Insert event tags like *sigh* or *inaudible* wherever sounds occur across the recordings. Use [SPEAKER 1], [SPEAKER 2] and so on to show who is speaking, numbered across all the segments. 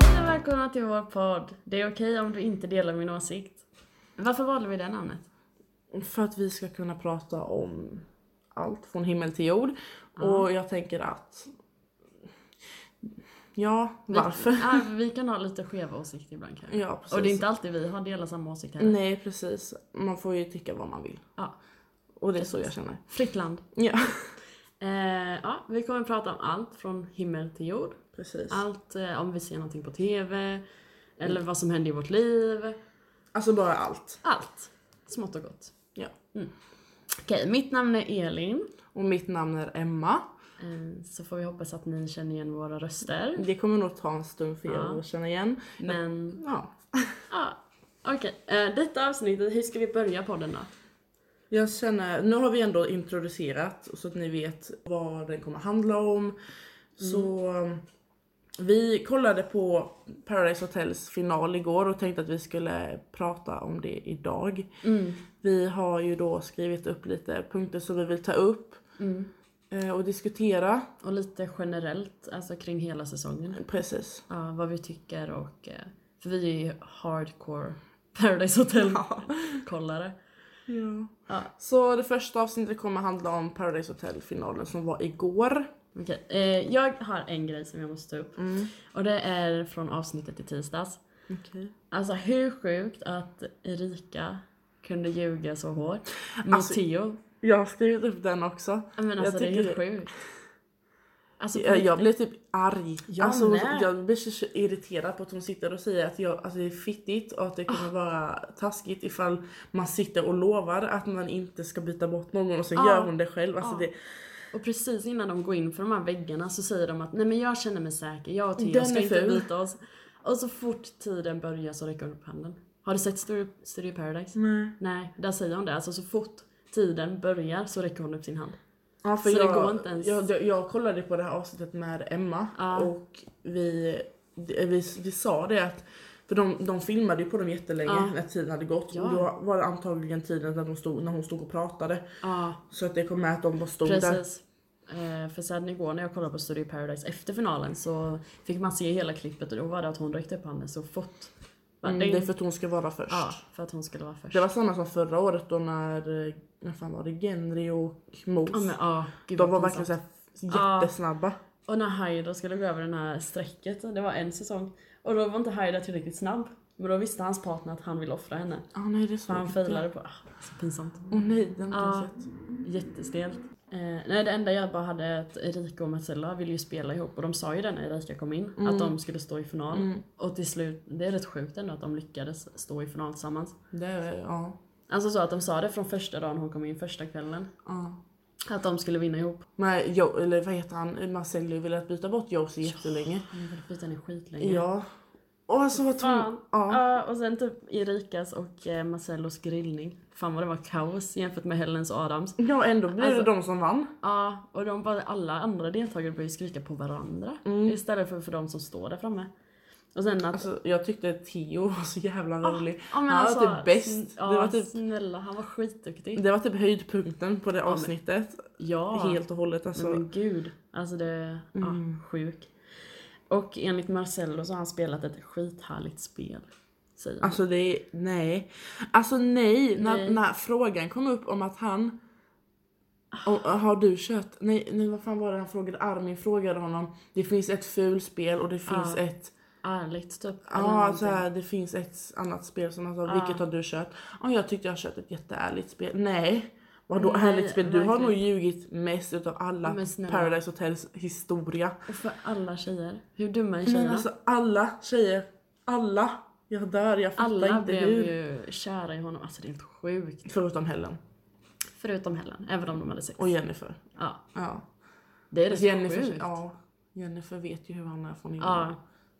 [SPEAKER 1] Välkomna till vår podd. Det är okej om du inte delar min åsikt. Varför valde vi det namnet?
[SPEAKER 2] För att vi ska kunna prata om allt från himmel till jord. Och jag tänker att... Ja, varför?
[SPEAKER 1] Vi, ja, vi kan ha lite skeva åsikter ibland kanske.
[SPEAKER 2] Ja, precis.
[SPEAKER 1] Och det är inte alltid vi har delat samma åsikt heller.
[SPEAKER 2] Nej, precis. Man får ju tycka vad man vill.
[SPEAKER 1] Ja.
[SPEAKER 2] Och det är så jag känner.
[SPEAKER 1] Fritt land.
[SPEAKER 2] Ja,
[SPEAKER 1] Eh, ja, vi kommer prata om allt från himmel till jord.
[SPEAKER 2] precis.
[SPEAKER 1] Allt eh, om vi ser någonting på TV. Eller vad som händer i vårt liv.
[SPEAKER 2] Alltså bara allt.
[SPEAKER 1] Allt. Smått och gott. Mm.
[SPEAKER 2] Ja.
[SPEAKER 1] Okej, mitt namn är Elin.
[SPEAKER 2] Och mitt namn är Emma.
[SPEAKER 1] Eh, Så får vi hoppas att ni känner igen våra röster.
[SPEAKER 2] Det kommer nog ta en stund för er
[SPEAKER 1] Ja.
[SPEAKER 2] att känna igen.
[SPEAKER 1] Men
[SPEAKER 2] Ja.
[SPEAKER 1] Ja, okej. Eh, Detta avsnittet, hur ska vi börja podden då?
[SPEAKER 2] Jag känner, eh, nu har vi ändå introducerat så att ni vet vad den kommer handla om. Så um, vi kollade på Paradise Hotels final igår och tänkte att vi skulle prata om det idag. Vi har ju då skrivit upp lite punkter som vi vill ta upp eh, och diskutera.
[SPEAKER 1] Och lite generellt, alltså kring hela säsongen.
[SPEAKER 2] Precis.
[SPEAKER 1] Ja, vad vi tycker och... eh, För vi är ju hardcore *laughs* Paradise Hotel-kollare.
[SPEAKER 2] Ja.
[SPEAKER 1] Ja.
[SPEAKER 2] Så det första avsnittet kommer handla om Paradise Hotel finalen som var igår.
[SPEAKER 1] Okej, eh, jag har en grej som jag måste ta upp. Och det är från avsnittet i tisdags.
[SPEAKER 2] Okay.
[SPEAKER 1] Alltså hur sjukt att Erika kunde ljuga så hårt mot
[SPEAKER 2] Alltså,
[SPEAKER 1] Theo.
[SPEAKER 2] Jag har skrivit upp den också.
[SPEAKER 1] Men alltså det är
[SPEAKER 2] tycker
[SPEAKER 1] helt sjukt. Alltså, på
[SPEAKER 2] Jag, jag
[SPEAKER 1] riktigt.
[SPEAKER 2] blev typ arg.
[SPEAKER 1] Jag
[SPEAKER 2] alltså,
[SPEAKER 1] med.
[SPEAKER 2] jag blir så så irriterad på att hon sitter och säger att jag, alltså, det är fittigt och att det
[SPEAKER 1] Ah.
[SPEAKER 2] kommer vara taskigt ifall man sitter och lovar att man inte ska byta bort någon och så
[SPEAKER 1] Ja.
[SPEAKER 2] gör hon det själv.
[SPEAKER 1] Ah.
[SPEAKER 2] Alltså, det,
[SPEAKER 1] Och precis innan de går in för de här väggarna så säger de att nej men jag känner mig säker, jag och Theo
[SPEAKER 2] Den
[SPEAKER 1] ska
[SPEAKER 2] är
[SPEAKER 1] inte
[SPEAKER 2] ful.
[SPEAKER 1] byta oss. Och så fort tiden börjar så räcker hon upp handen. Har du sett Studio, Studio Paradise?
[SPEAKER 2] Nej.
[SPEAKER 1] Nej, där säger hon det. Alltså så fort tiden börjar så räcker hon upp sin hand.
[SPEAKER 2] Ja, för
[SPEAKER 1] Så det
[SPEAKER 2] jag,
[SPEAKER 1] går inte ens. Ah.
[SPEAKER 2] Jag, jag, jag kollade på det här avsnittet med Emma
[SPEAKER 1] Ja.
[SPEAKER 2] och vi, vi, vi sa det att för de, de filmade ju på dem jättelänge
[SPEAKER 1] Ja.
[SPEAKER 2] när tiden hade gått
[SPEAKER 1] Ah. Ja.
[SPEAKER 2] och då var det antagligen tiden när, de stod, när hon stod och pratade.
[SPEAKER 1] Ja,
[SPEAKER 2] Så att det kom med att de Mm, bara stod där.
[SPEAKER 1] precis. Eh, för sen igår när jag kollade på Studio Paradise efter finalen så fick man se hela klippet och då var det att hon räckte upp handen så fort.
[SPEAKER 2] Mm, det är för att hon ska vara först.
[SPEAKER 1] Ja, för att hon skulle vara först.
[SPEAKER 2] Det var samma som förra året då när, eh, när fan var det, Genry och Mos.
[SPEAKER 1] Ja, men, ja, gud,
[SPEAKER 2] de var
[SPEAKER 1] vad
[SPEAKER 2] verkligen
[SPEAKER 1] pinsamt.
[SPEAKER 2] såhär Ah. jättesnabba.
[SPEAKER 1] Och när Haida skulle gå över den här strecket, det var en säsong, och då var inte Haida tillräckligt snabb. Men då visste hans partner att han ville offra henne.
[SPEAKER 2] Ah, nej det är så
[SPEAKER 1] För han
[SPEAKER 2] äckligt.
[SPEAKER 1] failade på... Ah, så pinsamt.
[SPEAKER 2] Åh nej, det har inte
[SPEAKER 1] Ja.
[SPEAKER 2] jag sett.
[SPEAKER 1] Jättestelt. Eh, nej, det enda jag bara hade att Erika och Marcella ville ju spela ihop och de sa ju det när Erika kom in, att de skulle stå i final.
[SPEAKER 2] Mm.
[SPEAKER 1] Och till slut, det är rätt sjukt ändå att de lyckades stå i final tillsammans.
[SPEAKER 2] Det, är- ja.
[SPEAKER 1] Alltså så att de sa det från första dagen hon kom in, första kvällen.
[SPEAKER 2] ja.
[SPEAKER 1] Att de skulle vinna ihop.
[SPEAKER 2] Men jo, eller vad heter han, Marcello ville att byta bort Josie jättelänge.
[SPEAKER 1] De ville byta ner skitlänge.
[SPEAKER 2] Ja. Och alltså vad
[SPEAKER 1] Fan.
[SPEAKER 2] tråkigt.
[SPEAKER 1] Mm, Ja.
[SPEAKER 2] Ja.
[SPEAKER 1] och sen typ Erikas och eh, Marcellos grillning. Fan vad det var kaos jämfört med Helens och Adams. Ja,
[SPEAKER 2] ja ändå blev
[SPEAKER 1] Alltså-
[SPEAKER 2] det de som vann.
[SPEAKER 1] och de bara, alla andra deltagare började skrika på varandra istället för, för de som står där framme. Och sen att...
[SPEAKER 2] Alltså, jag tyckte Theo var så jävla rolig.
[SPEAKER 1] ja, men
[SPEAKER 2] han
[SPEAKER 1] alltså,
[SPEAKER 2] var
[SPEAKER 1] sn-
[SPEAKER 2] typ bäst.
[SPEAKER 1] Ja,
[SPEAKER 2] det, var typ,
[SPEAKER 1] snälla, han var skitduktig.
[SPEAKER 2] det var typ höjdpunkten på det avsnittet.
[SPEAKER 1] Ja.
[SPEAKER 2] Helt och hållet alltså.
[SPEAKER 1] Nej, men gud. Alltså det... Ja, sjuk. Och enligt Marcello så har han spelat ett skithärligt spel. Säger han.
[SPEAKER 2] Alltså det är, nej. Alltså nej,
[SPEAKER 1] Nej.
[SPEAKER 2] När, när frågan kom upp om att han om, har du kött? Nej, nej vad fan var det han frågade? Armin frågade honom. Det finns ett fulspel och det finns
[SPEAKER 1] Ja.
[SPEAKER 2] ett
[SPEAKER 1] Ärligt typ. eller
[SPEAKER 2] ja,
[SPEAKER 1] någonting.
[SPEAKER 2] så här, det finns ett annat spel som han sa, vilket har du kött? Ja, jag tyckte jag kött ett jätteärligt spel. Nej. Vadå
[SPEAKER 1] Nej,
[SPEAKER 2] ärligt spel? Du har nog
[SPEAKER 1] verkligen.
[SPEAKER 2] ljugit mest utav alla
[SPEAKER 1] Men snälla.
[SPEAKER 2] Paradise Hotels historia.
[SPEAKER 1] Och för alla tjejer. Hur dumma är tjejerna?
[SPEAKER 2] Men alltså alla tjejer, alla. Jag dör, jag fattar
[SPEAKER 1] alla
[SPEAKER 2] inte
[SPEAKER 1] blev
[SPEAKER 2] hur.
[SPEAKER 1] ju kära i honom. Alltså det är helt sjukt.
[SPEAKER 2] Förutom Helen
[SPEAKER 1] Förutom Helen, även om de hade sex.
[SPEAKER 2] och Jennifer.
[SPEAKER 1] Ja,
[SPEAKER 2] Ja.
[SPEAKER 1] det är rätt
[SPEAKER 2] Jennifer,
[SPEAKER 1] sjukt. Ja.
[SPEAKER 2] ja, Jennifer vet ju hur han är från innan.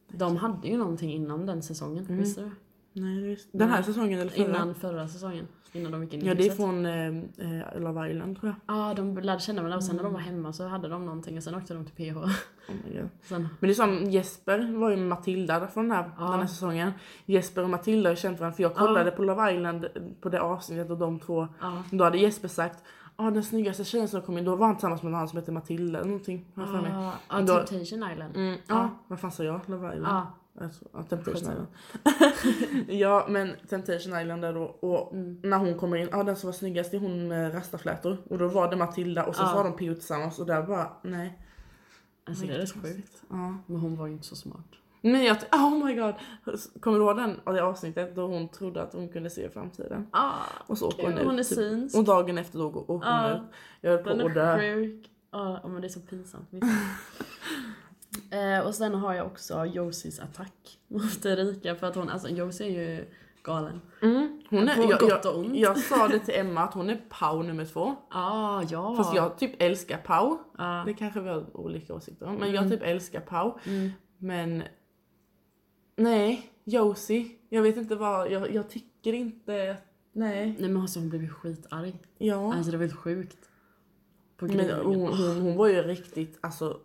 [SPEAKER 1] De hade ju någonting innan den säsongen, visste du?
[SPEAKER 2] Nej, det visste- Den här säsongen eller förra?
[SPEAKER 1] Innan Mm. förra säsongen. Innan de gick in i
[SPEAKER 2] Ja det är
[SPEAKER 1] huset.
[SPEAKER 2] från eh, eh, Love Island tror jag.
[SPEAKER 1] Ja, de lärde känna varandra och sen när de var hemma så hade de någonting och sen åkte de till PH.
[SPEAKER 2] Oh my God.
[SPEAKER 1] *laughs* Sen,
[SPEAKER 2] Men det är som Jesper var ju med Matilda från den här, den här säsongen. Jesper och Matilda har ju känt varandra för jag kollade på Love Island eh, på det avsnittet och de två,
[SPEAKER 1] Ja.
[SPEAKER 2] då hade Jesper sagt ah, den snyggaste tjejen som kom in, då var han tillsammans med han som hette Matilda eller någonting. Har jag för mig. Mm,
[SPEAKER 1] ja, ja,
[SPEAKER 2] Då-
[SPEAKER 1] Temptation Island.
[SPEAKER 2] Mm, ja, vad fan sa jag? Love Island?
[SPEAKER 1] Ja,
[SPEAKER 2] Alltså, ja, Temptation Island. *laughs* ja men Temptation Island där då och
[SPEAKER 1] Mm.
[SPEAKER 2] när hon kommer in, ja den som var snyggast är hon med rastaflätor och då var det Matilda och sen
[SPEAKER 1] Ja.
[SPEAKER 2] så var de PO tillsammans och där bara nej.
[SPEAKER 1] Alltså det är rätt sjukt.
[SPEAKER 2] Ja.
[SPEAKER 1] Men hon var ju inte så smart.
[SPEAKER 2] Men jag, *laughs* oh my god. Kommer du ihåg den, det avsnittet då hon trodde att hon kunde se framtiden?
[SPEAKER 1] Ah,
[SPEAKER 2] Och så åker hon
[SPEAKER 1] Gud,
[SPEAKER 2] ut.
[SPEAKER 1] hon är
[SPEAKER 2] typ.
[SPEAKER 1] synsk.
[SPEAKER 2] Och dagen efter då går åker
[SPEAKER 1] Ja.
[SPEAKER 2] hon ut. Jag höll
[SPEAKER 1] Den
[SPEAKER 2] på att
[SPEAKER 1] är
[SPEAKER 2] dö.
[SPEAKER 1] sjuk. Ja, men det är så pinsamt. *laughs* visst. eh, och sen har jag också Josies attack mot Erika för att hon, alltså Josie är ju galen.
[SPEAKER 2] Mm. Hon är,
[SPEAKER 1] På
[SPEAKER 2] jag,
[SPEAKER 1] gott
[SPEAKER 2] jag,
[SPEAKER 1] och ont.
[SPEAKER 2] jag sa
[SPEAKER 1] *laughs*
[SPEAKER 2] det till Emma att hon är Pau nummer två.
[SPEAKER 1] Ah, ja.
[SPEAKER 2] Fast jag typ älskar Pau.
[SPEAKER 1] Ja.
[SPEAKER 2] Det kanske vi har olika åsikter om. Men
[SPEAKER 1] Mm.
[SPEAKER 2] jag typ älskar Pau. Men nej, Josie. Jag vet inte vad, jag, jag tycker inte, nej.
[SPEAKER 1] Nej men alltså hon blev ju skitarg.
[SPEAKER 2] Ja.
[SPEAKER 1] Alltså det var helt sjukt. På
[SPEAKER 2] Men
[SPEAKER 1] grejen.
[SPEAKER 2] hon, hon, hon var ju riktigt alltså,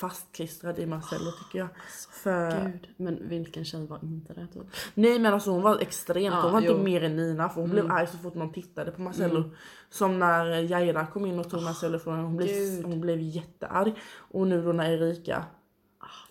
[SPEAKER 2] fastklistrad i Marcello tycker jag. För...
[SPEAKER 1] Ah, alltså, Gud, men vilken tjej var inte det typ?
[SPEAKER 2] Nej men alltså hon var extremt,
[SPEAKER 1] Ja,
[SPEAKER 2] hon var
[SPEAKER 1] jo. Mm.
[SPEAKER 2] inte mer än Nina för hon blev arg så fort man tittade på Marcello. Som när Jaira kom in och tog Marcello från henne, hon blev,
[SPEAKER 1] Ah, Gud.
[SPEAKER 2] hon blev jättearg. Och nu då när Erika,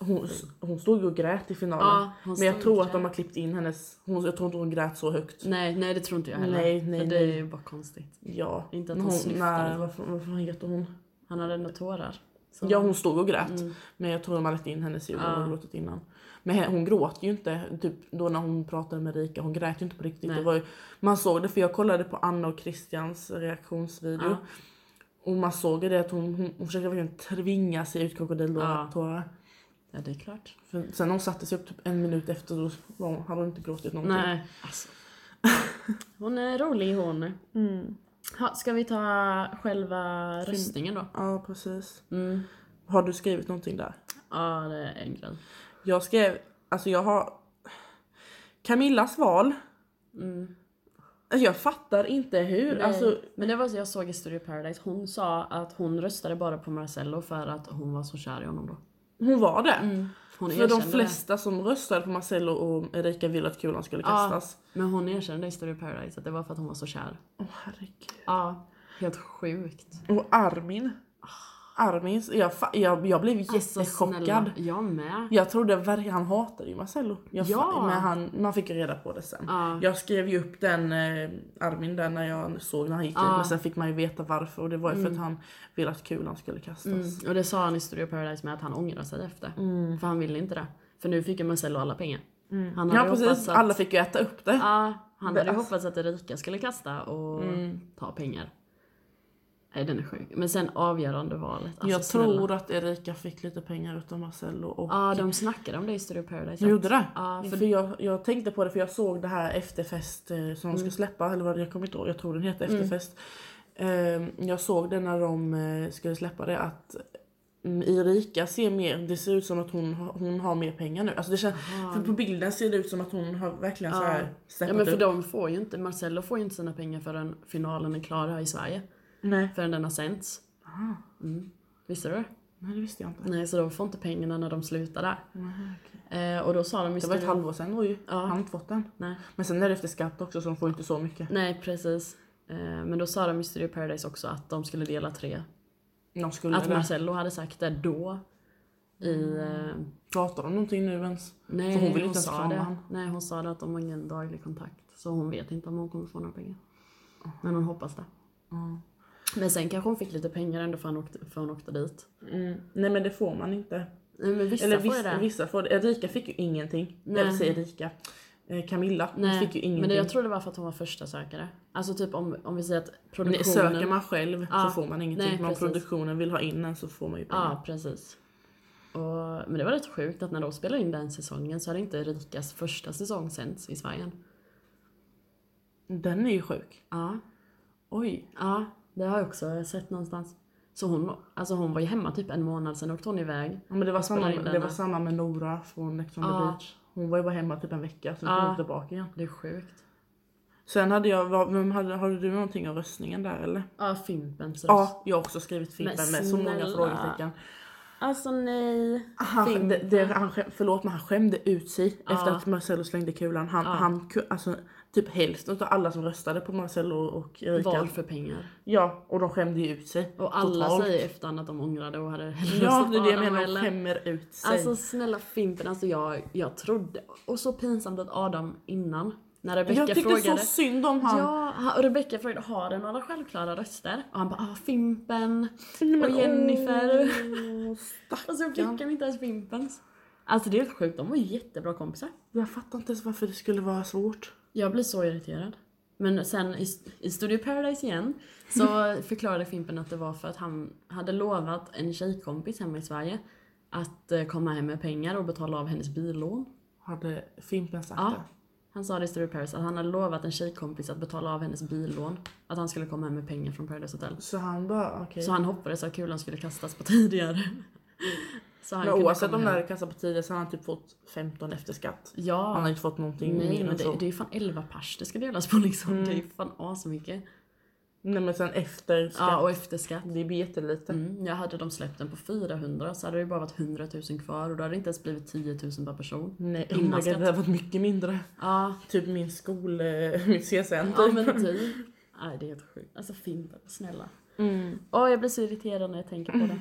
[SPEAKER 2] hon, hon stod ju och grät i finalen.
[SPEAKER 1] Ah, Ja, hon
[SPEAKER 2] men jag
[SPEAKER 1] stod
[SPEAKER 2] tror
[SPEAKER 1] och
[SPEAKER 2] att de har klippt in hennes, hon, jag tror inte hon grät så högt.
[SPEAKER 1] Nej, nej det tror inte jag heller.
[SPEAKER 2] Nej, nej,
[SPEAKER 1] för det är
[SPEAKER 2] nej.
[SPEAKER 1] ju bara konstigt.
[SPEAKER 2] Ja.
[SPEAKER 1] Inte att
[SPEAKER 2] Men
[SPEAKER 1] hon
[SPEAKER 2] när,
[SPEAKER 1] snyftade.
[SPEAKER 2] varför, varför heter hon?
[SPEAKER 1] Han hade ändå tårar. Så-
[SPEAKER 2] Ja hon stod och
[SPEAKER 1] Mm.
[SPEAKER 2] grät. Men jag tror de har lagt in hennes ljud, hon har gråtit innan. Men he- hon gråt ju inte, typ då när hon pratade med Rika, hon grät ju inte på riktigt.
[SPEAKER 1] Nej.
[SPEAKER 2] Det var ju, man såg det för jag kollade på Anna och Christians reaktionsvideo.
[SPEAKER 1] Ja.
[SPEAKER 2] Och man såg ju det att hon, hon, hon försökte verkligen tvinga sig ut
[SPEAKER 1] Ja.
[SPEAKER 2] krokodiltårar.
[SPEAKER 1] ja, det är klart.
[SPEAKER 2] För Sen när hon satte sig upp typ en minut efter då var hon, hade hon inte gråtit någonting.
[SPEAKER 1] Nej, alltså. Hon är rolig hon. Ha, ska vi ta själva Mm. röstningen då?
[SPEAKER 2] Ja precis. Har du skrivit någonting där?
[SPEAKER 1] Ja, det är en grej.
[SPEAKER 2] Jag skrev, alltså jag har Camillas val.
[SPEAKER 1] Mm.
[SPEAKER 2] Alltså jag fattar inte hur. Alltså,
[SPEAKER 1] Men det var så jag såg i Studio Paradise, hon sa att hon röstade bara på Marcello för att hon var så kär i honom då.
[SPEAKER 2] hon var det.
[SPEAKER 1] Mm, Hon
[SPEAKER 2] För de
[SPEAKER 1] erkände
[SPEAKER 2] flesta som röstade på Marcello och Erika ville att kulan skulle
[SPEAKER 1] det. Ja,
[SPEAKER 2] kastas.
[SPEAKER 1] men hon erkände i Studio Paradise att det var för att hon var så kär.
[SPEAKER 2] Åh herregud.
[SPEAKER 1] Ja, helt sjukt.
[SPEAKER 2] Och Armin. Armin, jag, fa- jag, jag blev jättechockad.
[SPEAKER 1] Alltså, snälla, Jag med.
[SPEAKER 2] Jag trodde verkligen, han hatade ju Marcello. Jag fa-
[SPEAKER 1] Ja.
[SPEAKER 2] Men han, man fick ju reda på det sen.
[SPEAKER 1] Ja.
[SPEAKER 2] Jag skrev ju upp den eh, Armin där när jag såg när han gick ut. Men sen fick man ju veta varför och det var ju
[SPEAKER 1] Mm.
[SPEAKER 2] för att han ville att kulan skulle kastas.
[SPEAKER 1] Och det sa han i Studio Paradise med att han ångrar sig efter. För han ville inte det. För nu fick ju Marcello alla pengar. Mm. Han
[SPEAKER 2] Mm. Ja
[SPEAKER 1] hade
[SPEAKER 2] precis,
[SPEAKER 1] hoppats att...
[SPEAKER 2] alla fick ju äta upp det.
[SPEAKER 1] Ja, han
[SPEAKER 2] Det-
[SPEAKER 1] hade ju hoppats att Erika skulle kasta och
[SPEAKER 2] Mm.
[SPEAKER 1] ta pengar. Nej den är sjuk. Men sen avgörande valet. Alltså,
[SPEAKER 2] jag
[SPEAKER 1] snälla.
[SPEAKER 2] tror att Erika fick lite pengar utav Marcello och
[SPEAKER 1] Ja, de snackade om det i Studio Paradise.
[SPEAKER 2] Du gjorde det?
[SPEAKER 1] Ja,
[SPEAKER 2] för
[SPEAKER 1] för-
[SPEAKER 2] jag, jag tänkte på det för jag såg det här efterfest eh, som de
[SPEAKER 1] Mm.
[SPEAKER 2] ska släppa, eller vad det- jag kommer inte ihåg, jag tror den heter efterfest. Eh, Jag såg det när de eh, skulle släppa det att mm, Erika ser mer, det ser ut som att hon, har- hon har mer pengar nu. Alltså det känns, för på bilden ser det ut som att hon har verkligen så här
[SPEAKER 1] Ja
[SPEAKER 2] steppat
[SPEAKER 1] men för
[SPEAKER 2] upp.
[SPEAKER 1] de får ju inte, Marcello får ju inte sina pengar förrän finalen är klar här i Sverige.
[SPEAKER 2] Nej.
[SPEAKER 1] Förrän den har sänts. Mm. Visste du det?
[SPEAKER 2] Nej det visste jag inte.
[SPEAKER 1] Nej så de får inte pengarna när de slutar där. eh, och då sa de i
[SPEAKER 2] Det var ett halvår sedan då ju, han har inte fått den.
[SPEAKER 1] Nej.
[SPEAKER 2] Men sen är det efter skatt också så de får inte så mycket.
[SPEAKER 1] Nej precis. Eh, men då sa de i Studio Paradise också att de skulle dela tre.
[SPEAKER 2] De skulle
[SPEAKER 1] Att
[SPEAKER 2] att
[SPEAKER 1] Marcello hade sagt det då. I... Eh,
[SPEAKER 2] Pratar de någonting nu ens?
[SPEAKER 1] Nej,
[SPEAKER 2] För hon vill inte ens
[SPEAKER 1] sa
[SPEAKER 2] krama
[SPEAKER 1] det.
[SPEAKER 2] han.
[SPEAKER 1] Nej, hon sa det att de har ingen daglig kontakt. Så hon vet inte om hon kommer få några pengar. Men hon hoppas det. Mm. Men sen kanske hon fick lite pengar ändå för, han åkte, för hon åkte dit.
[SPEAKER 2] Mm. Nej men det får man inte.
[SPEAKER 1] Nej, men vissa
[SPEAKER 2] Eller
[SPEAKER 1] får ju
[SPEAKER 2] vissa,
[SPEAKER 1] det.
[SPEAKER 2] vissa får det. Erika fick ju ingenting.
[SPEAKER 1] Nej.
[SPEAKER 2] Eller säger Erika. Eh, Camilla hon
[SPEAKER 1] Nej,
[SPEAKER 2] fick ju ingenting.
[SPEAKER 1] men det, jag tror det var för att hon var första sökare. Alltså typ om, om vi säger att
[SPEAKER 2] Men
[SPEAKER 1] produktionen...
[SPEAKER 2] söker man själv
[SPEAKER 1] Ja.
[SPEAKER 2] så får man ingenting.
[SPEAKER 1] Nej,
[SPEAKER 2] men om
[SPEAKER 1] precis.
[SPEAKER 2] produktionen vill ha in en så får man ju pengar.
[SPEAKER 1] Ja, precis. Och, men det var rätt sjukt att när de spelade in den säsongen så hade inte Rikas första säsong sänts i Sverige än.
[SPEAKER 2] Den är ju sjuk.
[SPEAKER 1] Ja,
[SPEAKER 2] Oj.
[SPEAKER 1] Ja, det har jag också sett någonstans. Så hon, alltså hon var ju hemma typ en månad, sen åkte hon iväg.
[SPEAKER 2] Ja, men det, var samma,
[SPEAKER 1] spelar in den
[SPEAKER 2] det var
[SPEAKER 1] här.
[SPEAKER 2] samma med Nora från Next on the
[SPEAKER 1] Ja.
[SPEAKER 2] beach. Hon var ju bara hemma typ en vecka sen kom
[SPEAKER 1] Ja.
[SPEAKER 2] hon tillbaka igen.
[SPEAKER 1] Det är sjukt.
[SPEAKER 2] Sen hade jag, vad- vem hade, hade du någonting om röstningen där eller?
[SPEAKER 1] Ja, Fimpens röst.
[SPEAKER 2] Ja, jag har också skrivit Fimpen med så många
[SPEAKER 1] snälla.
[SPEAKER 2] frågetecken.
[SPEAKER 1] Alltså nej.
[SPEAKER 2] Han, Ah, det, det, han, skäm- förlåt men han skämde ut sig
[SPEAKER 1] Ja.
[SPEAKER 2] efter att Marcello slängde kulan. Han, han, ku- alltså, typ hälften av alla som röstade på Marcello och Erika.
[SPEAKER 1] Val för pengar.
[SPEAKER 2] Ja, och de skämde ju ut sig.
[SPEAKER 1] Och alla
[SPEAKER 2] totalt.
[SPEAKER 1] säger efterhand att de ångrade och hade hellre
[SPEAKER 2] Ja,
[SPEAKER 1] röstat
[SPEAKER 2] det är
[SPEAKER 1] på
[SPEAKER 2] det jag
[SPEAKER 1] Adam
[SPEAKER 2] menar. De
[SPEAKER 1] eller-
[SPEAKER 2] skämmer ut sig.
[SPEAKER 1] Alltså snälla Fimpen, alltså jag, jag trodde... Och så pinsamt att Adam innan, när Rebecca
[SPEAKER 2] jag tyckte
[SPEAKER 1] frågade...
[SPEAKER 2] så synd om han.
[SPEAKER 1] Ja, han- och Rebecca frågade har du några självklara röster? Och han bara ah, Fimpen
[SPEAKER 2] Nej, men
[SPEAKER 1] och Jennifer.
[SPEAKER 2] åh,
[SPEAKER 1] Och så fick
[SPEAKER 2] stackarn.
[SPEAKER 1] han inte ens Fimpens. Alltså det är helt sjukt, de var ju jättebra kompisar.
[SPEAKER 2] Jag fattar inte ens varför det skulle vara svårt.
[SPEAKER 1] Jag blir så irriterad. Men sen i, i Studio Paradise igen så förklarade Fimpen att det var för att han hade lovat en tjejkompis hemma i Sverige att eh, komma hem med pengar och betala av hennes billån.
[SPEAKER 2] Hade Fimpen sagt
[SPEAKER 1] Ja.
[SPEAKER 2] det?
[SPEAKER 1] Han sa det i Studio Paradise att han hade lovat en tjejkompis att betala av hennes billån. Att han skulle komma hem med pengar från Paradise Hotel.
[SPEAKER 2] Så han bara okej.
[SPEAKER 1] Så han hoppades att kulan skulle kastas på *laughs* tidigare. Så han
[SPEAKER 2] Men
[SPEAKER 1] kunde
[SPEAKER 2] oavsett
[SPEAKER 1] komma
[SPEAKER 2] om det
[SPEAKER 1] hem.
[SPEAKER 2] hade kastat på tio så hade han typ fått 15 efter skatt. Han
[SPEAKER 1] Ja.
[SPEAKER 2] har inte fått någonting
[SPEAKER 1] Nej
[SPEAKER 2] mer
[SPEAKER 1] men
[SPEAKER 2] än så.
[SPEAKER 1] det, det är ju fan 11 pers det ska delas på liksom. Det är ju fan asmycket.
[SPEAKER 2] Nej men sen efter skatt.
[SPEAKER 1] Ja och efter skatt.
[SPEAKER 2] Det blir jättelite.
[SPEAKER 1] Mm, jag hade de släppt den på 400 så hade det ju bara varit 100 000 kvar och då hade det inte ens blivit 10 000 per person.
[SPEAKER 2] Nej, oh
[SPEAKER 1] Innan
[SPEAKER 2] my God, det
[SPEAKER 1] skatt.
[SPEAKER 2] hade varit mycket mindre.
[SPEAKER 1] Ja,
[SPEAKER 2] Typ min skol, eh, *laughs* mitt CSN
[SPEAKER 1] ja
[SPEAKER 2] typ.
[SPEAKER 1] men typ. Nej det är helt sjukt. Alltså Fimpen, snälla.
[SPEAKER 2] Mm.
[SPEAKER 1] Åh jag blir så irriterad när jag tänker på *laughs* det.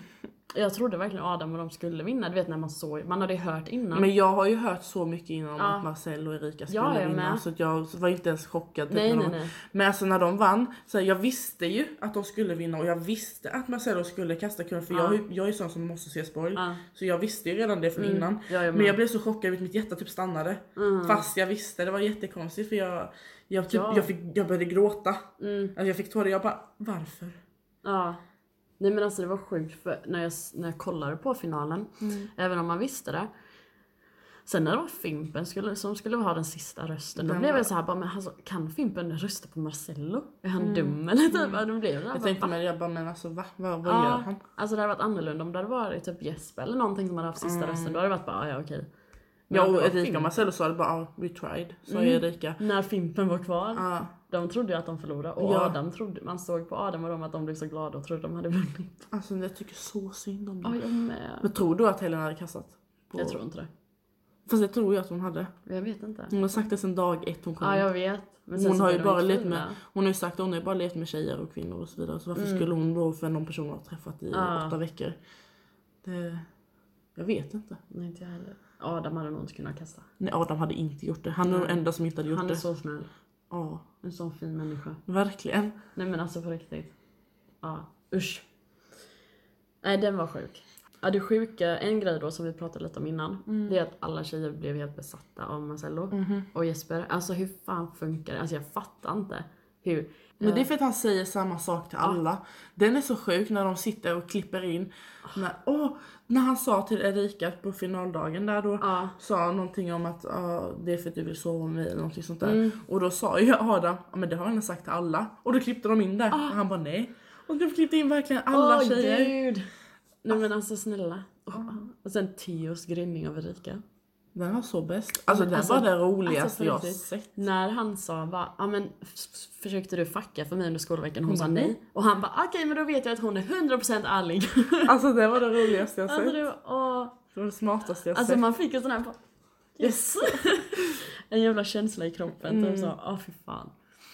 [SPEAKER 1] Jag trodde verkligen Adam och de skulle vinna, du vet när man såg, man hade ju hört innan.
[SPEAKER 2] Men jag har ju hört så mycket innan om
[SPEAKER 1] Ja.
[SPEAKER 2] att Marcel och Erika skulle
[SPEAKER 1] Ja, jag
[SPEAKER 2] vinna
[SPEAKER 1] med.
[SPEAKER 2] så att jag var inte ens chockad. Typ,
[SPEAKER 1] nej
[SPEAKER 2] när
[SPEAKER 1] nej
[SPEAKER 2] de,
[SPEAKER 1] nej.
[SPEAKER 2] Men alltså när de vann, så här, jag visste ju att de skulle vinna och jag visste att Marcelo skulle kasta kulan för
[SPEAKER 1] Ja.
[SPEAKER 2] jag, är ju- jag är ju sån som måste se spoil.
[SPEAKER 1] Ja. Mm.
[SPEAKER 2] Så jag visste ju redan det från innan.
[SPEAKER 1] Ja, jag
[SPEAKER 2] Men jag
[SPEAKER 1] med.
[SPEAKER 2] blev så chockad att mitt hjärta typ stannade. Fast jag visste, det var jättekonstigt för jag, jag, typ,
[SPEAKER 1] Ja.
[SPEAKER 2] jag, fick, jag började gråta.
[SPEAKER 1] Mm.
[SPEAKER 2] Alltså jag fick tårar, jag bara varför?
[SPEAKER 1] Ja. Nej men alltså det var sjukt för när jag, när jag kollade på finalen,
[SPEAKER 2] Mm.
[SPEAKER 1] även om man visste det. Sen när det var Fimpen skulle, som skulle ha den sista rösten, då
[SPEAKER 2] Den
[SPEAKER 1] blev
[SPEAKER 2] var-
[SPEAKER 1] jag såhär bara, men alltså, kan Fimpen rösta på Marcello? Är han dum eller? Typ. Mm. Då blev jag,
[SPEAKER 2] Jag
[SPEAKER 1] bara,
[SPEAKER 2] tänkte
[SPEAKER 1] va?
[SPEAKER 2] mig det, jag bara men alltså va? Vad, vad gör
[SPEAKER 1] ja,
[SPEAKER 2] han?
[SPEAKER 1] Alltså det hade varit annorlunda om det hade varit typ Jesper eller någonting som hade haft sista rösten. Då hade det varit bara, "Ah, ja okej. Men
[SPEAKER 2] Mm. Jag
[SPEAKER 1] det
[SPEAKER 2] och
[SPEAKER 1] var Mm.
[SPEAKER 2] Erika och
[SPEAKER 1] Fimpen.
[SPEAKER 2] Marcelo sa det bara ah, we tried, sa Erika.
[SPEAKER 1] När Fimpen var kvar,
[SPEAKER 2] Ja.
[SPEAKER 1] de trodde ju att de förlorade. Och
[SPEAKER 2] Ja.
[SPEAKER 1] Adam trodde, man såg på Adam och dem att de blev så glada och trodde de hade vunnit.
[SPEAKER 2] Alltså jag tycker så synd om
[SPEAKER 1] Ja,
[SPEAKER 2] dem.
[SPEAKER 1] jag med.
[SPEAKER 2] Men tror du att Helen hade kastat? På...
[SPEAKER 1] Jag tror inte det.
[SPEAKER 2] Fast det tror jag att hon hade.
[SPEAKER 1] Jag vet inte.
[SPEAKER 2] Hon har sagt det sedan dag ett hon kom.
[SPEAKER 1] Ja
[SPEAKER 2] in.
[SPEAKER 1] jag vet. Men sen
[SPEAKER 2] Mm. hon
[SPEAKER 1] så
[SPEAKER 2] har ju
[SPEAKER 1] blir de
[SPEAKER 2] bara
[SPEAKER 1] inte
[SPEAKER 2] levt
[SPEAKER 1] fina.
[SPEAKER 2] med, hon har ju sagt att hon har ju bara levt med tjejer och kvinnor och så vidare. Så varför skulle hon då för någon person hon har träffat i
[SPEAKER 1] Mm. Ja.
[SPEAKER 2] åtta veckor? Det, jag vet inte.
[SPEAKER 1] Nej inte jag heller. Adam hade nog inte kunnat kasta.
[SPEAKER 2] Nej, Adam hade inte gjort det. Han är den enda som inte hade gjort
[SPEAKER 1] Han är
[SPEAKER 2] det.
[SPEAKER 1] så snäll.
[SPEAKER 2] Ja,
[SPEAKER 1] En sån fin människa.
[SPEAKER 2] verkligen.
[SPEAKER 1] Nej men alltså på riktigt. Ja usch. Nej den var sjuk. Ja det sjuka, en grej då som vi pratade lite om innan.
[SPEAKER 2] Mm.
[SPEAKER 1] Det är att alla tjejer blev helt besatta av Marcello
[SPEAKER 2] Mhm.
[SPEAKER 1] och Jesper. Alltså hur fan funkar det? Alltså jag fattar inte. Hur?
[SPEAKER 2] Men det är för att han säger samma sak till alla. Den är så sjuk när de sitter och klipper in. När, åh, när han sa till Erika på finaldagen där då,
[SPEAKER 1] Ja.
[SPEAKER 2] sa någonting om att ah, det är för att du vill sova med mig eller någonting sånt där.
[SPEAKER 1] Mm.
[SPEAKER 2] Och då sa ju Adam, ja men det har han sagt till alla. Och då klippte de in det. Och han bara nej. Och de klippte in verkligen alla
[SPEAKER 1] Ah. Åh,
[SPEAKER 2] tjejer.
[SPEAKER 1] gud! Nej men alltså snälla. Åh. Och sen Theos grynning av Erika.
[SPEAKER 2] Den var så bäst. Alltså den
[SPEAKER 1] alltså-
[SPEAKER 2] var det
[SPEAKER 1] alltså,
[SPEAKER 2] roligaste
[SPEAKER 1] på
[SPEAKER 2] jag
[SPEAKER 1] riktigt.
[SPEAKER 2] sett.
[SPEAKER 1] När han sa bara, ja men f- f- försökte du fucka för mig under skolveckan? Hon sa nej. Och han bara, okej men då vet jag att hon är 100% *laughs* ärlig.
[SPEAKER 2] Alltså det var det roligaste jag
[SPEAKER 1] alltså,
[SPEAKER 2] sett.
[SPEAKER 1] det var, åh.
[SPEAKER 2] Det var det smartaste jag
[SPEAKER 1] alltså
[SPEAKER 2] sett.
[SPEAKER 1] man fick en sån här, bara, yes! *laughs* en jävla känsla i kroppen. Typ så, åh fy fan.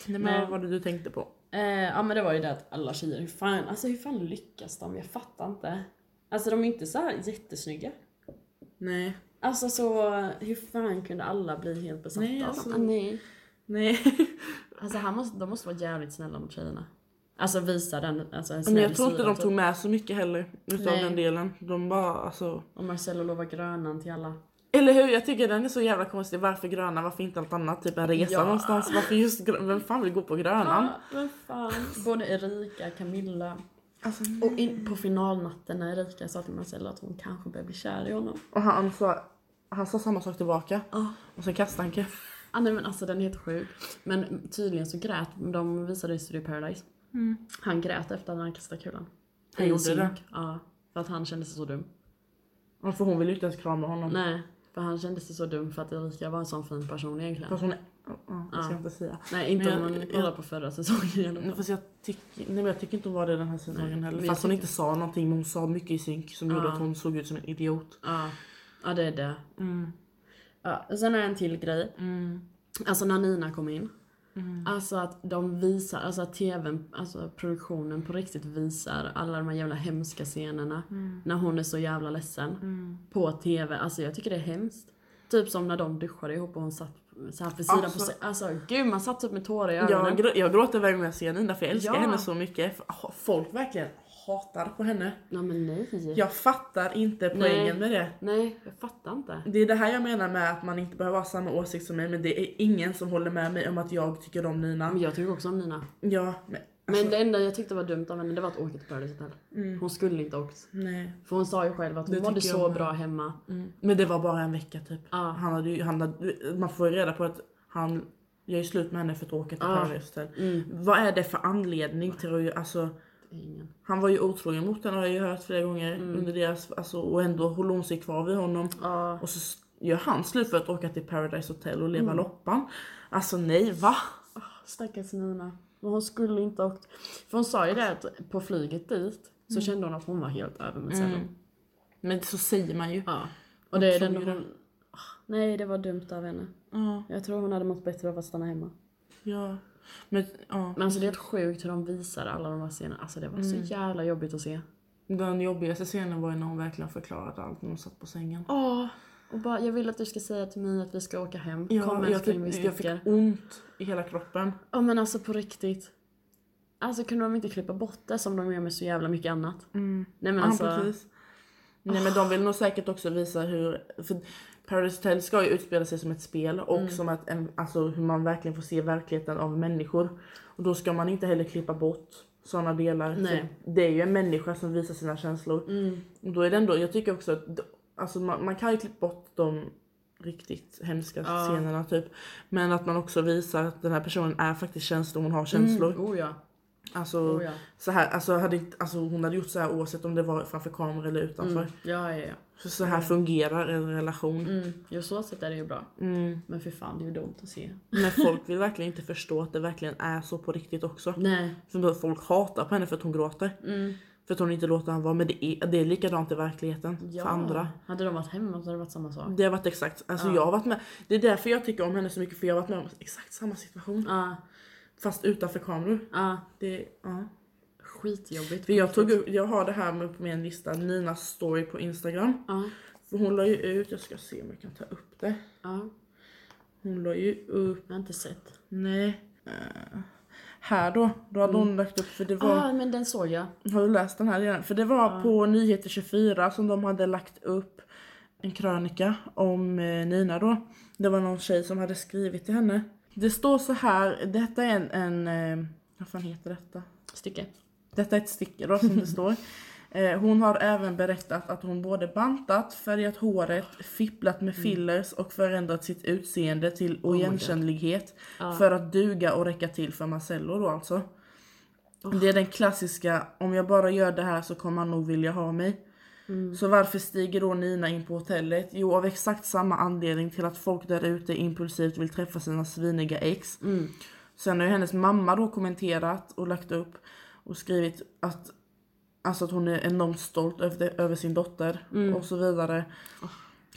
[SPEAKER 2] Nej, men vad var det du tänkte på?
[SPEAKER 1] Eh, ja men det var ju det att alla tjejer, hur fan, alltså hur fan lyckas de? Jag fattar inte. Alltså de är inte så här jättesnygga.
[SPEAKER 2] Nej.
[SPEAKER 1] Alltså så, hur fan kunde alla bli helt besatta
[SPEAKER 2] Nej,
[SPEAKER 1] av
[SPEAKER 2] alltså-
[SPEAKER 1] dem? Ah, nej.
[SPEAKER 2] Nej.
[SPEAKER 1] Alltså han måste, de måste vara jävligt snälla mot tjejerna. Alltså visa den, alltså en snäll
[SPEAKER 2] Men jag tror inte
[SPEAKER 1] sida
[SPEAKER 2] de
[SPEAKER 1] typ.
[SPEAKER 2] tog med så mycket heller utav
[SPEAKER 1] Nej.
[SPEAKER 2] den delen. De bara alltså...
[SPEAKER 1] Och Marcello lovar grönan till alla.
[SPEAKER 2] Eller hur? Jag tycker den är så jävla konstig. Varför gröna? Varför inte allt annat? Typ en resa
[SPEAKER 1] Ja.
[SPEAKER 2] någonstans. Varför just gröna? Vem fan vill gå på grönan?
[SPEAKER 1] Vem fan? Både Erika, Camilla.
[SPEAKER 2] Alltså,
[SPEAKER 1] Och in på finalnatten när Erika sa till Marcello att hon kanske börjar bli kär i honom.
[SPEAKER 2] och han sa, han sa samma sak tillbaka.
[SPEAKER 1] Ja.
[SPEAKER 2] Och sen kastade han kulan.
[SPEAKER 1] Ah, nej men alltså den är helt sjuk. Men tydligen så grät, de visade i Studio Paradise. Han grät efter att han kastade kulan.
[SPEAKER 2] Mm. Han
[SPEAKER 1] I
[SPEAKER 2] gjorde
[SPEAKER 1] synk.
[SPEAKER 2] det?
[SPEAKER 1] Ja. För att han kände sig så dum.
[SPEAKER 2] Ja, För hon ville ju inte ens krama honom.
[SPEAKER 1] Nej, för han kände sig så dum för att Erika var en sån fin person egentligen.
[SPEAKER 2] Fast hon Ja, ja, det ska jag inte säga.
[SPEAKER 1] Nej inte
[SPEAKER 2] Men
[SPEAKER 1] om
[SPEAKER 2] jag-
[SPEAKER 1] man kollar på förra säsongen i alla
[SPEAKER 2] Nej,
[SPEAKER 1] fall.
[SPEAKER 2] fast jag, tyck, nej, men jag tycker inte hon var det den här säsongen
[SPEAKER 1] Nej,
[SPEAKER 2] heller.
[SPEAKER 1] men
[SPEAKER 2] Fast
[SPEAKER 1] jag
[SPEAKER 2] hon inte sa någonting men hon sa mycket i synk som gjorde att hon såg ut som en idiot.
[SPEAKER 1] Ja, ja det är det. Mm, Ja, och sen har jag en till grej. Alltså när Nina kom in. Alltså att de visar, alltså att tvn, alltså produktionen på riktigt visar alla de här jävla hemska scenerna. När hon är så jävla ledsen. På tv, alltså jag tycker det är hemskt. Typ som när de duschade ihop och hon satt så här för sidan
[SPEAKER 2] Alltså-
[SPEAKER 1] på sig. Alltså gud man satt typ med tårar i ögonen.
[SPEAKER 2] Jag, grå, jag gråter varje gång jag ser Nina för jag älskar
[SPEAKER 1] Ja.
[SPEAKER 2] henne så mycket. F- Folk verkligen hatar på henne.
[SPEAKER 1] Nej men nej.
[SPEAKER 2] Jag fattar inte poängen med det.
[SPEAKER 1] Mm. Nej jag fattar inte.
[SPEAKER 2] Det är det här jag menar med att man inte behöver ha samma åsikt som mig men det är ingen som håller med mig om att jag tycker om Nina.
[SPEAKER 1] Men jag tycker också om Nina.
[SPEAKER 2] Ja, men
[SPEAKER 1] Mm. Men det enda jag tyckte var dumt av henne det var att åka till Paradise Hotel. Hon skulle inte ha åkt.
[SPEAKER 2] nej.
[SPEAKER 1] För hon sa ju själv att hon
[SPEAKER 2] Det
[SPEAKER 1] mådde
[SPEAKER 2] tycker jag
[SPEAKER 1] så
[SPEAKER 2] med.
[SPEAKER 1] bra hemma.
[SPEAKER 2] Men det var bara en vecka typ.
[SPEAKER 1] Mm. Ja.
[SPEAKER 2] Han hade ju, han hade, man får ju reda på att han gör ju slut med henne för att åka till Paris. Hotel.
[SPEAKER 1] Mm.
[SPEAKER 2] Vad är det för anledning till att... Alltså,
[SPEAKER 1] Ingen.
[SPEAKER 2] han var ju otrogen mot henne har jag ju hört flera gånger
[SPEAKER 1] Mm.
[SPEAKER 2] under deras, alltså, och ändå håller hon sig kvar vid honom.
[SPEAKER 1] Ja.
[SPEAKER 2] Och så s- gör han slut för att åka till Paradise Hotel och leva loppan. Alltså nej va?
[SPEAKER 1] Ah, Stackars Nina. Men hon skulle inte ha åkt. Mm. För hon sa ju det att på flyget dit så kände hon att hon var helt över med cellen.
[SPEAKER 2] Men så säger man ju.
[SPEAKER 1] Ja. Och det är
[SPEAKER 2] tror
[SPEAKER 1] den
[SPEAKER 2] ju det.
[SPEAKER 1] hon... Ah, Nej det var dumt av henne.
[SPEAKER 2] Ja,
[SPEAKER 1] Jag tror hon hade mått bättre av att stanna hemma.
[SPEAKER 2] ja. Men ja,
[SPEAKER 1] Men alltså det är helt sjukt hur de visar alla de här scenerna. Alltså det var så jävla jobbigt att se.
[SPEAKER 2] den jobbigaste scenen var ju när hon verkligen förklarade allt när hon satt på sängen.
[SPEAKER 1] Ja. Och bara, jag vill att du ska säga till mig att vi ska åka hem. Kom
[SPEAKER 2] jag,
[SPEAKER 1] älskling vi
[SPEAKER 2] fick, jag
[SPEAKER 1] sticker.
[SPEAKER 2] fick ont i hela kroppen.
[SPEAKER 1] Ja men alltså på riktigt. Alltså kunde de inte klippa bort det som de gör med så jävla mycket annat? Nej men
[SPEAKER 2] Mm. Ja,
[SPEAKER 1] alltså.
[SPEAKER 2] precis. Nej men de vill nog säkert också visa hur... För Paradise Hotel ska ju utspela sig som ett spel och
[SPEAKER 1] Mm.
[SPEAKER 2] som att en, alltså, hur man verkligen får se verkligheten av människor. Och då ska man inte heller klippa bort sådana delar.
[SPEAKER 1] Nej.
[SPEAKER 2] För Det är ju en människa som visar sina känslor.
[SPEAKER 1] Mm.
[SPEAKER 2] Och då är det ändå, jag tycker också att d- alltså, man, man kan ju klippa bort de riktigt hemska scenerna typ. Men att man också visar att den här personen är faktiskt känslor, hon har känslor.
[SPEAKER 1] Oh ja.
[SPEAKER 2] Alltså,
[SPEAKER 1] Oh ja.
[SPEAKER 2] så här, alltså, hade, inte- alltså hon hade gjort så här oavsett om det var framför kamera eller utanför.
[SPEAKER 1] Ja, ja, ja.
[SPEAKER 2] Så, så här fungerar en relation.
[SPEAKER 1] Mm. Jo, så sätt är det ju bra. Men för fan, det är ju dumt att se.
[SPEAKER 2] Men folk vill verkligen inte förstå att det verkligen är så på riktigt också.
[SPEAKER 1] Nej. Mm.
[SPEAKER 2] För då folk hatar på henne för att hon gråter. För att hon inte låter honom vara. Men det är, det är likadant i verkligheten för andra.
[SPEAKER 1] Hade de varit hemma så hade det varit samma sak.
[SPEAKER 2] Det har varit exakt, alltså jag har varit med. Det är därför jag tycker om henne så mycket för jag har varit med om exakt samma situation.
[SPEAKER 1] Ja,
[SPEAKER 2] Fast utanför kameror.
[SPEAKER 1] ja.
[SPEAKER 2] Det, ja.
[SPEAKER 1] Skitjobbigt.
[SPEAKER 2] För jag, tog, upp- jag har det här med på min lista, Ninas story på Instagram.
[SPEAKER 1] Ja,
[SPEAKER 2] För hon la ju ut, jag ska se om jag kan ta upp det.
[SPEAKER 1] ja.
[SPEAKER 2] Hon la ju upp,
[SPEAKER 1] Jag har inte sett.
[SPEAKER 2] nej. eh, här då, då hade hon lagt upp för det var,
[SPEAKER 1] Ja, ah, men den såg jag.
[SPEAKER 2] har du läst den här redan? För det var på Nyheter 24 som de hade lagt upp en krönika om eh, Nina då. Det var någon tjej som hade skrivit till henne. Det står så här, detta är en, en eh, vad fan heter detta?
[SPEAKER 1] Stycke.
[SPEAKER 2] Detta är ett sticker då som det står. Eh, Hon har även berättat att hon både bantat, färgat håret, fipplat med fillers och förändrat sitt utseende till oigenkännlighet för att duga och räcka till för Marcello då alltså. Det är den klassiska, om jag bara gör det här så kommer han nog vilja ha mig. Så varför stiger då Nina in på hotellet? Jo, av exakt samma anledning till att folk där ute impulsivt vill träffa sina sviniga ex. Sen har ju hennes mamma då kommenterat och lagt upp och skrivit att, alltså att hon är enormt stolt över, det, över sin dotter
[SPEAKER 1] Mm.
[SPEAKER 2] och så vidare.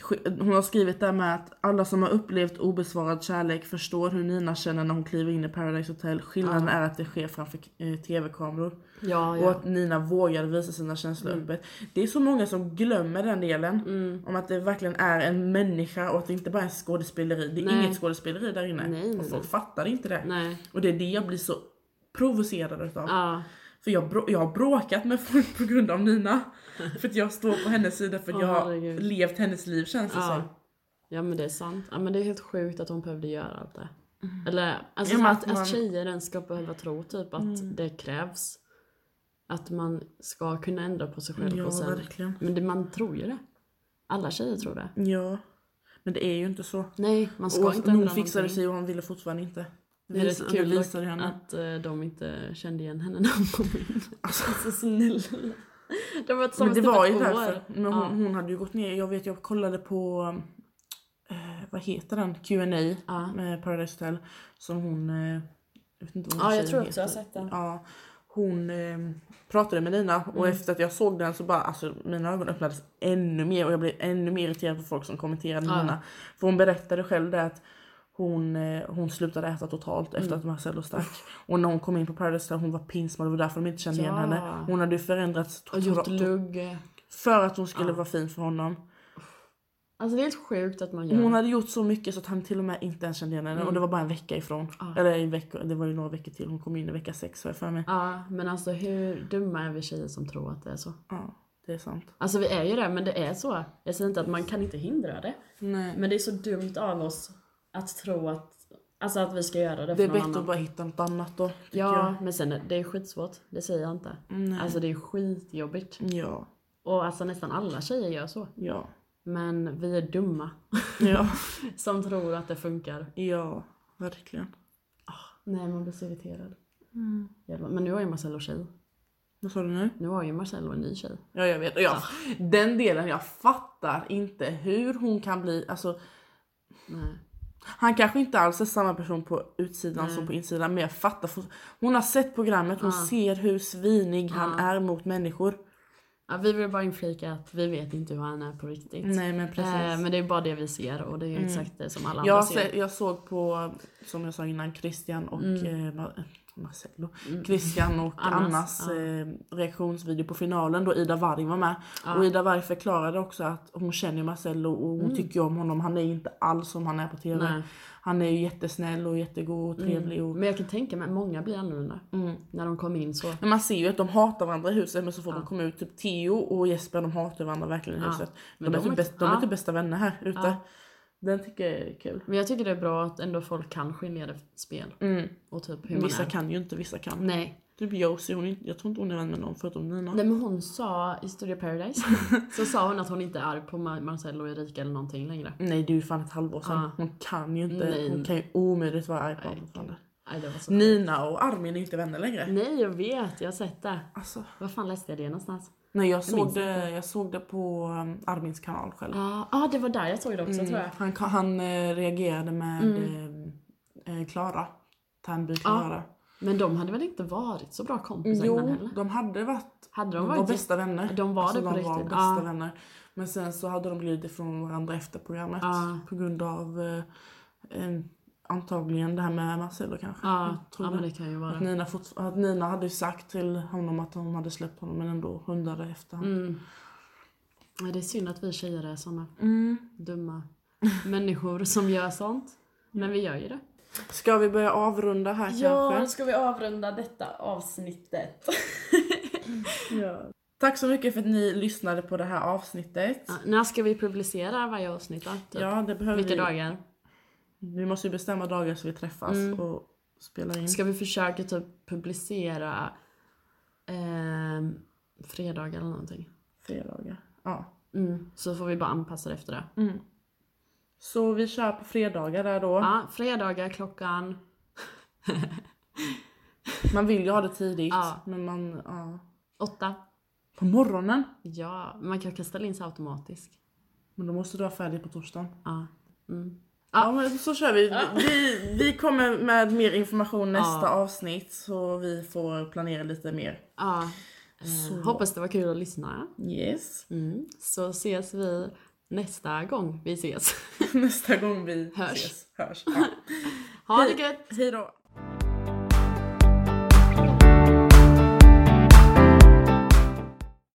[SPEAKER 2] Sk- Hon har skrivit där med att alla som har upplevt obesvarad kärlek förstår hur Nina känner när hon kliver in i Paradise Hotel. Skillnaden är att det sker framför eh, tv-kameror.
[SPEAKER 1] Ja, Mm.
[SPEAKER 2] Och att Nina vågar visa sina känslor öppet. Det är så många som glömmer den delen. Om att det verkligen är en människa och att det inte bara är skådespeleri. Det är
[SPEAKER 1] Nej.
[SPEAKER 2] inget skådespeleri där inne.
[SPEAKER 1] Nej, nej,
[SPEAKER 2] och folk fattar inte det.
[SPEAKER 1] Nej.
[SPEAKER 2] Och det är det jag blir så provocerad utav.
[SPEAKER 1] Ja.
[SPEAKER 2] För jag, brå- jag har bråkat med folk på grund
[SPEAKER 1] *laughs*
[SPEAKER 2] av Nina. för att jag står på hennes sida för att
[SPEAKER 1] Åh,
[SPEAKER 2] jag har
[SPEAKER 1] herregud.
[SPEAKER 2] levt hennes liv känns det
[SPEAKER 1] Ja.
[SPEAKER 2] som.
[SPEAKER 1] ja, men det är sant. Ja, men det är helt sjukt att hon behövde göra allt det. Eller alltså,
[SPEAKER 2] Ja, Mm. men
[SPEAKER 1] att,
[SPEAKER 2] att man- Mm.
[SPEAKER 1] att tjejer ens ska behöva tro typ att det krävs. Att man ska kunna ändra på sig själv.
[SPEAKER 2] Ja,
[SPEAKER 1] och sen...
[SPEAKER 2] verkligen.
[SPEAKER 1] Men det, man tror ju det. Alla tjejer tror det.
[SPEAKER 2] Ja. Men det är ju inte så.
[SPEAKER 1] Nej, man ska
[SPEAKER 2] Och
[SPEAKER 1] inte
[SPEAKER 2] hon
[SPEAKER 1] ändra
[SPEAKER 2] fixade
[SPEAKER 1] någonting.
[SPEAKER 2] sig och han ville fortfarande inte.
[SPEAKER 1] Det är
[SPEAKER 2] Vis-
[SPEAKER 1] rätt
[SPEAKER 2] kul
[SPEAKER 1] kul
[SPEAKER 2] visade
[SPEAKER 1] dock
[SPEAKER 2] henne.
[SPEAKER 1] att eh, de inte kände igen henne när hon
[SPEAKER 2] *laughs*
[SPEAKER 1] kom in. *laughs* Alltså snälla. De var
[SPEAKER 2] Men
[SPEAKER 1] tillsammans
[SPEAKER 2] det
[SPEAKER 1] typ
[SPEAKER 2] var
[SPEAKER 1] ett
[SPEAKER 2] ju
[SPEAKER 1] år.
[SPEAKER 2] därför. Men hon,
[SPEAKER 1] Ja.
[SPEAKER 2] hon hade ju gått ner, jag vet jag kollade på eh, vad heter den, Q&A
[SPEAKER 1] Ja.
[SPEAKER 2] med Paradise Hotel. Som hon, eh, jag vet inte vad
[SPEAKER 1] Ja,
[SPEAKER 2] hon
[SPEAKER 1] jag tror
[SPEAKER 2] tjejen
[SPEAKER 1] också jag har
[SPEAKER 2] heter.
[SPEAKER 1] sett den.
[SPEAKER 2] Ja, hon eh, pratade med Nina
[SPEAKER 1] Mm.
[SPEAKER 2] och efter att jag såg den så bara alltså mina ögon öppnades ännu mer och jag blev ännu mer irriterad på folk som kommenterade
[SPEAKER 1] Ja.
[SPEAKER 2] Nina. För hon berättade själv det att hon, eh, hon slutade äta totalt efter
[SPEAKER 1] Mm.
[SPEAKER 2] att Marcello stack. Och när hon kom in på Paradise Hotel hon var pinsmad och det var därför de inte kände igen
[SPEAKER 1] Ja.
[SPEAKER 2] henne. Hon hade ju förändrats
[SPEAKER 1] Och gjort
[SPEAKER 2] totalt
[SPEAKER 1] lugg.
[SPEAKER 2] för att hon skulle vara fin för honom.
[SPEAKER 1] Alltså det är helt sjukt att man gör
[SPEAKER 2] Hon hade gjort så mycket så att han till och med inte ens kände igen henne och
[SPEAKER 1] Mm.
[SPEAKER 2] det var bara en vecka ifrån. Eller en vecka, det var ju några veckor till, hon kom in i vecka sex har jag för mig.
[SPEAKER 1] Ja, men alltså hur dumma är vi tjejer som tror att det är så?
[SPEAKER 2] Ja, det är sant.
[SPEAKER 1] Alltså vi är ju det, men det är så. Jag säger inte att man kan inte hindra det.
[SPEAKER 2] Nej.
[SPEAKER 1] Men det är så dumt av oss att tro att, alltså att vi ska göra det för
[SPEAKER 2] Det är
[SPEAKER 1] någon
[SPEAKER 2] bättre
[SPEAKER 1] annan.
[SPEAKER 2] att bara hitta något annat då. tycker
[SPEAKER 1] Ja, men sen är- det är skitsvårt. Det säger jag inte.
[SPEAKER 2] Mm, Nej.
[SPEAKER 1] Alltså det är skitjobbigt.
[SPEAKER 2] jag. Ja.
[SPEAKER 1] Och alltså nästan alla tjejer gör så.
[SPEAKER 2] Ja.
[SPEAKER 1] Men vi är dumma
[SPEAKER 2] Ja.
[SPEAKER 1] som tror att det funkar.
[SPEAKER 2] Ja. Verkligen.
[SPEAKER 1] Nej, man blir så irriterad.
[SPEAKER 2] Mm.
[SPEAKER 1] Jävlar. Men nu har ju Marcello tjej.
[SPEAKER 2] Vad sa du nu?
[SPEAKER 1] Nu har ju Marcello en ny tjej.
[SPEAKER 2] Ja jag vet. Och jag, Den delen, jag fattar inte hur hon kan bli, alltså
[SPEAKER 1] Nej.
[SPEAKER 2] han kanske inte alls är samma person på utsidan
[SPEAKER 1] Nej.
[SPEAKER 2] som på insidan men jag fattar. fort- Hon har sett programmet, hon ser hur svinig han är mot människor.
[SPEAKER 1] Ja, vi vill bara inflika att vi vet inte hur han är på riktigt.
[SPEAKER 2] Nej men precis. Mm.
[SPEAKER 1] Eh, men det är bara det vi ser och det är ju exakt det som alla andra
[SPEAKER 2] Jag,
[SPEAKER 1] ser.
[SPEAKER 2] se, jag såg på, som jag sa innan, Christian och eh, Ma- eh, Marcello. Christian och
[SPEAKER 1] Mm. *laughs* Annas,
[SPEAKER 2] Annas, eh, reaktionsvideo på finalen då Ida Warg var med. Och Ida Warg förklarade också att hon känner ju Marcello och hon tycker ju om honom. Han är ju inte alls som han är på TV.
[SPEAKER 1] Mm. Nej. Mm.
[SPEAKER 2] Han är ju jättesnäll och jättegod och trevlig. Och, mm.
[SPEAKER 1] Men jag kan tänka mig att många blir annorlunda när de kommer in så.
[SPEAKER 2] men man ser ju att de hatar varandra i huset men så får de komma ut, typ Theo och Jesper de hatar varandra verkligen i huset.
[SPEAKER 1] Men
[SPEAKER 2] De är,
[SPEAKER 1] de är-
[SPEAKER 2] typ bäst, de
[SPEAKER 1] ja.
[SPEAKER 2] är typ bästa vänner här ute. Den tycker jag är kul.
[SPEAKER 1] Men jag tycker det är bra att ändå folk kan skilja det från spel. Och typ hur man
[SPEAKER 2] Mm. Vissa
[SPEAKER 1] är.
[SPEAKER 2] kan ju inte, vissa kan.
[SPEAKER 1] Nej.
[SPEAKER 2] Typ Josie, hon är, inte- jag tror inte hon är vän med någon förutom Nina.
[SPEAKER 1] Nej men hon sa i Studio
[SPEAKER 2] *laughs*
[SPEAKER 1] Paradise, så sa hon att hon inte är arg på Mar- Marcello och Erika eller någonting längre.
[SPEAKER 2] Nej det är ju fan ett halvår sedan.
[SPEAKER 1] Ah.
[SPEAKER 2] Hon kan ju inte,
[SPEAKER 1] Nej.
[SPEAKER 2] hon kan ju omöjligt vara arg på honom. fortfarande.
[SPEAKER 1] Nej det var så
[SPEAKER 2] Nina och Armin är ju inte vänner längre.
[SPEAKER 1] Nej jag vet, jag har sett det.
[SPEAKER 2] Alltså,
[SPEAKER 1] Var fan läste jag det någonstans?
[SPEAKER 2] nej jag såg, det, jag såg det på um, Armins kanal själv.
[SPEAKER 1] Ja ah, det var där jag såg det också tror jag.
[SPEAKER 2] Han, ka- han eh, reagerade med eh, eh, Klara. Tärnby Klara.
[SPEAKER 1] Men de hade väl inte varit så bra kompisar innan
[SPEAKER 2] Jo,
[SPEAKER 1] heller?
[SPEAKER 2] de hade varit
[SPEAKER 1] Hade de,
[SPEAKER 2] de var
[SPEAKER 1] varit
[SPEAKER 2] bästa vänner.
[SPEAKER 1] de var det på
[SPEAKER 2] de var
[SPEAKER 1] riktigt,
[SPEAKER 2] bästa
[SPEAKER 1] ja.
[SPEAKER 2] vänner. Men sen så hade de glidit ifrån varandra efter programmet.
[SPEAKER 1] Ja.
[SPEAKER 2] På grund av eh, eh, antagligen det här med Marcello kanske.
[SPEAKER 1] Ja,
[SPEAKER 2] Jag tror
[SPEAKER 1] ja
[SPEAKER 2] det.
[SPEAKER 1] men det kan ju
[SPEAKER 2] Att
[SPEAKER 1] vara.
[SPEAKER 2] Nina, fort, att Nina hade ju sagt till honom att hon hade släppt honom men ändå hundrade efter honom.
[SPEAKER 1] Nej, Mm. det är synd att vi tjejer är såna Mm. dumma människor som gör sånt. Men vi gör ju det.
[SPEAKER 2] Ska vi börja avrunda här kanske?
[SPEAKER 1] ska vi avrunda detta avsnittet.
[SPEAKER 2] Tack så mycket för att ni lyssnade på det här avsnittet.
[SPEAKER 1] Ja, när ska vi publicera varje avsnitt då? Typ?
[SPEAKER 2] Ja, det behöver
[SPEAKER 1] Vilka
[SPEAKER 2] vi.
[SPEAKER 1] dagar?
[SPEAKER 2] Vi måste ju bestämma dagar så vi träffas och spelar in.
[SPEAKER 1] Mm. Ska vi försöka typ publicera ehm, fredagar eller någonting?
[SPEAKER 2] Fredagar. Ja.
[SPEAKER 1] Mm. Så får vi bara anpassa det efter det.
[SPEAKER 2] Så vi kör på fredagar där då.
[SPEAKER 1] Ja, fredagar klockan...
[SPEAKER 2] Man vill ju ha det tidigt.
[SPEAKER 1] Ja.
[SPEAKER 2] Men man, ja.
[SPEAKER 1] Åtta.
[SPEAKER 2] På morgonen?
[SPEAKER 1] Ja, man kan kan ställa in sig automatiskt.
[SPEAKER 2] Men då måste du ha färdigt på torsdagen.
[SPEAKER 1] Ja.
[SPEAKER 2] Ja men så kör vi. Vi, vi kommer med mer information nästa avsnitt så vi får planera lite mer.
[SPEAKER 1] Ja. Eh, hoppas det var kul att lyssna.
[SPEAKER 2] Yes. *laughs*
[SPEAKER 1] Mm. Så ses vi nästa gång vi ses.
[SPEAKER 2] Nästa gång vi
[SPEAKER 1] Hörs.
[SPEAKER 2] ses. Hörs. Ja.
[SPEAKER 1] Ha det gött!
[SPEAKER 2] Hej då.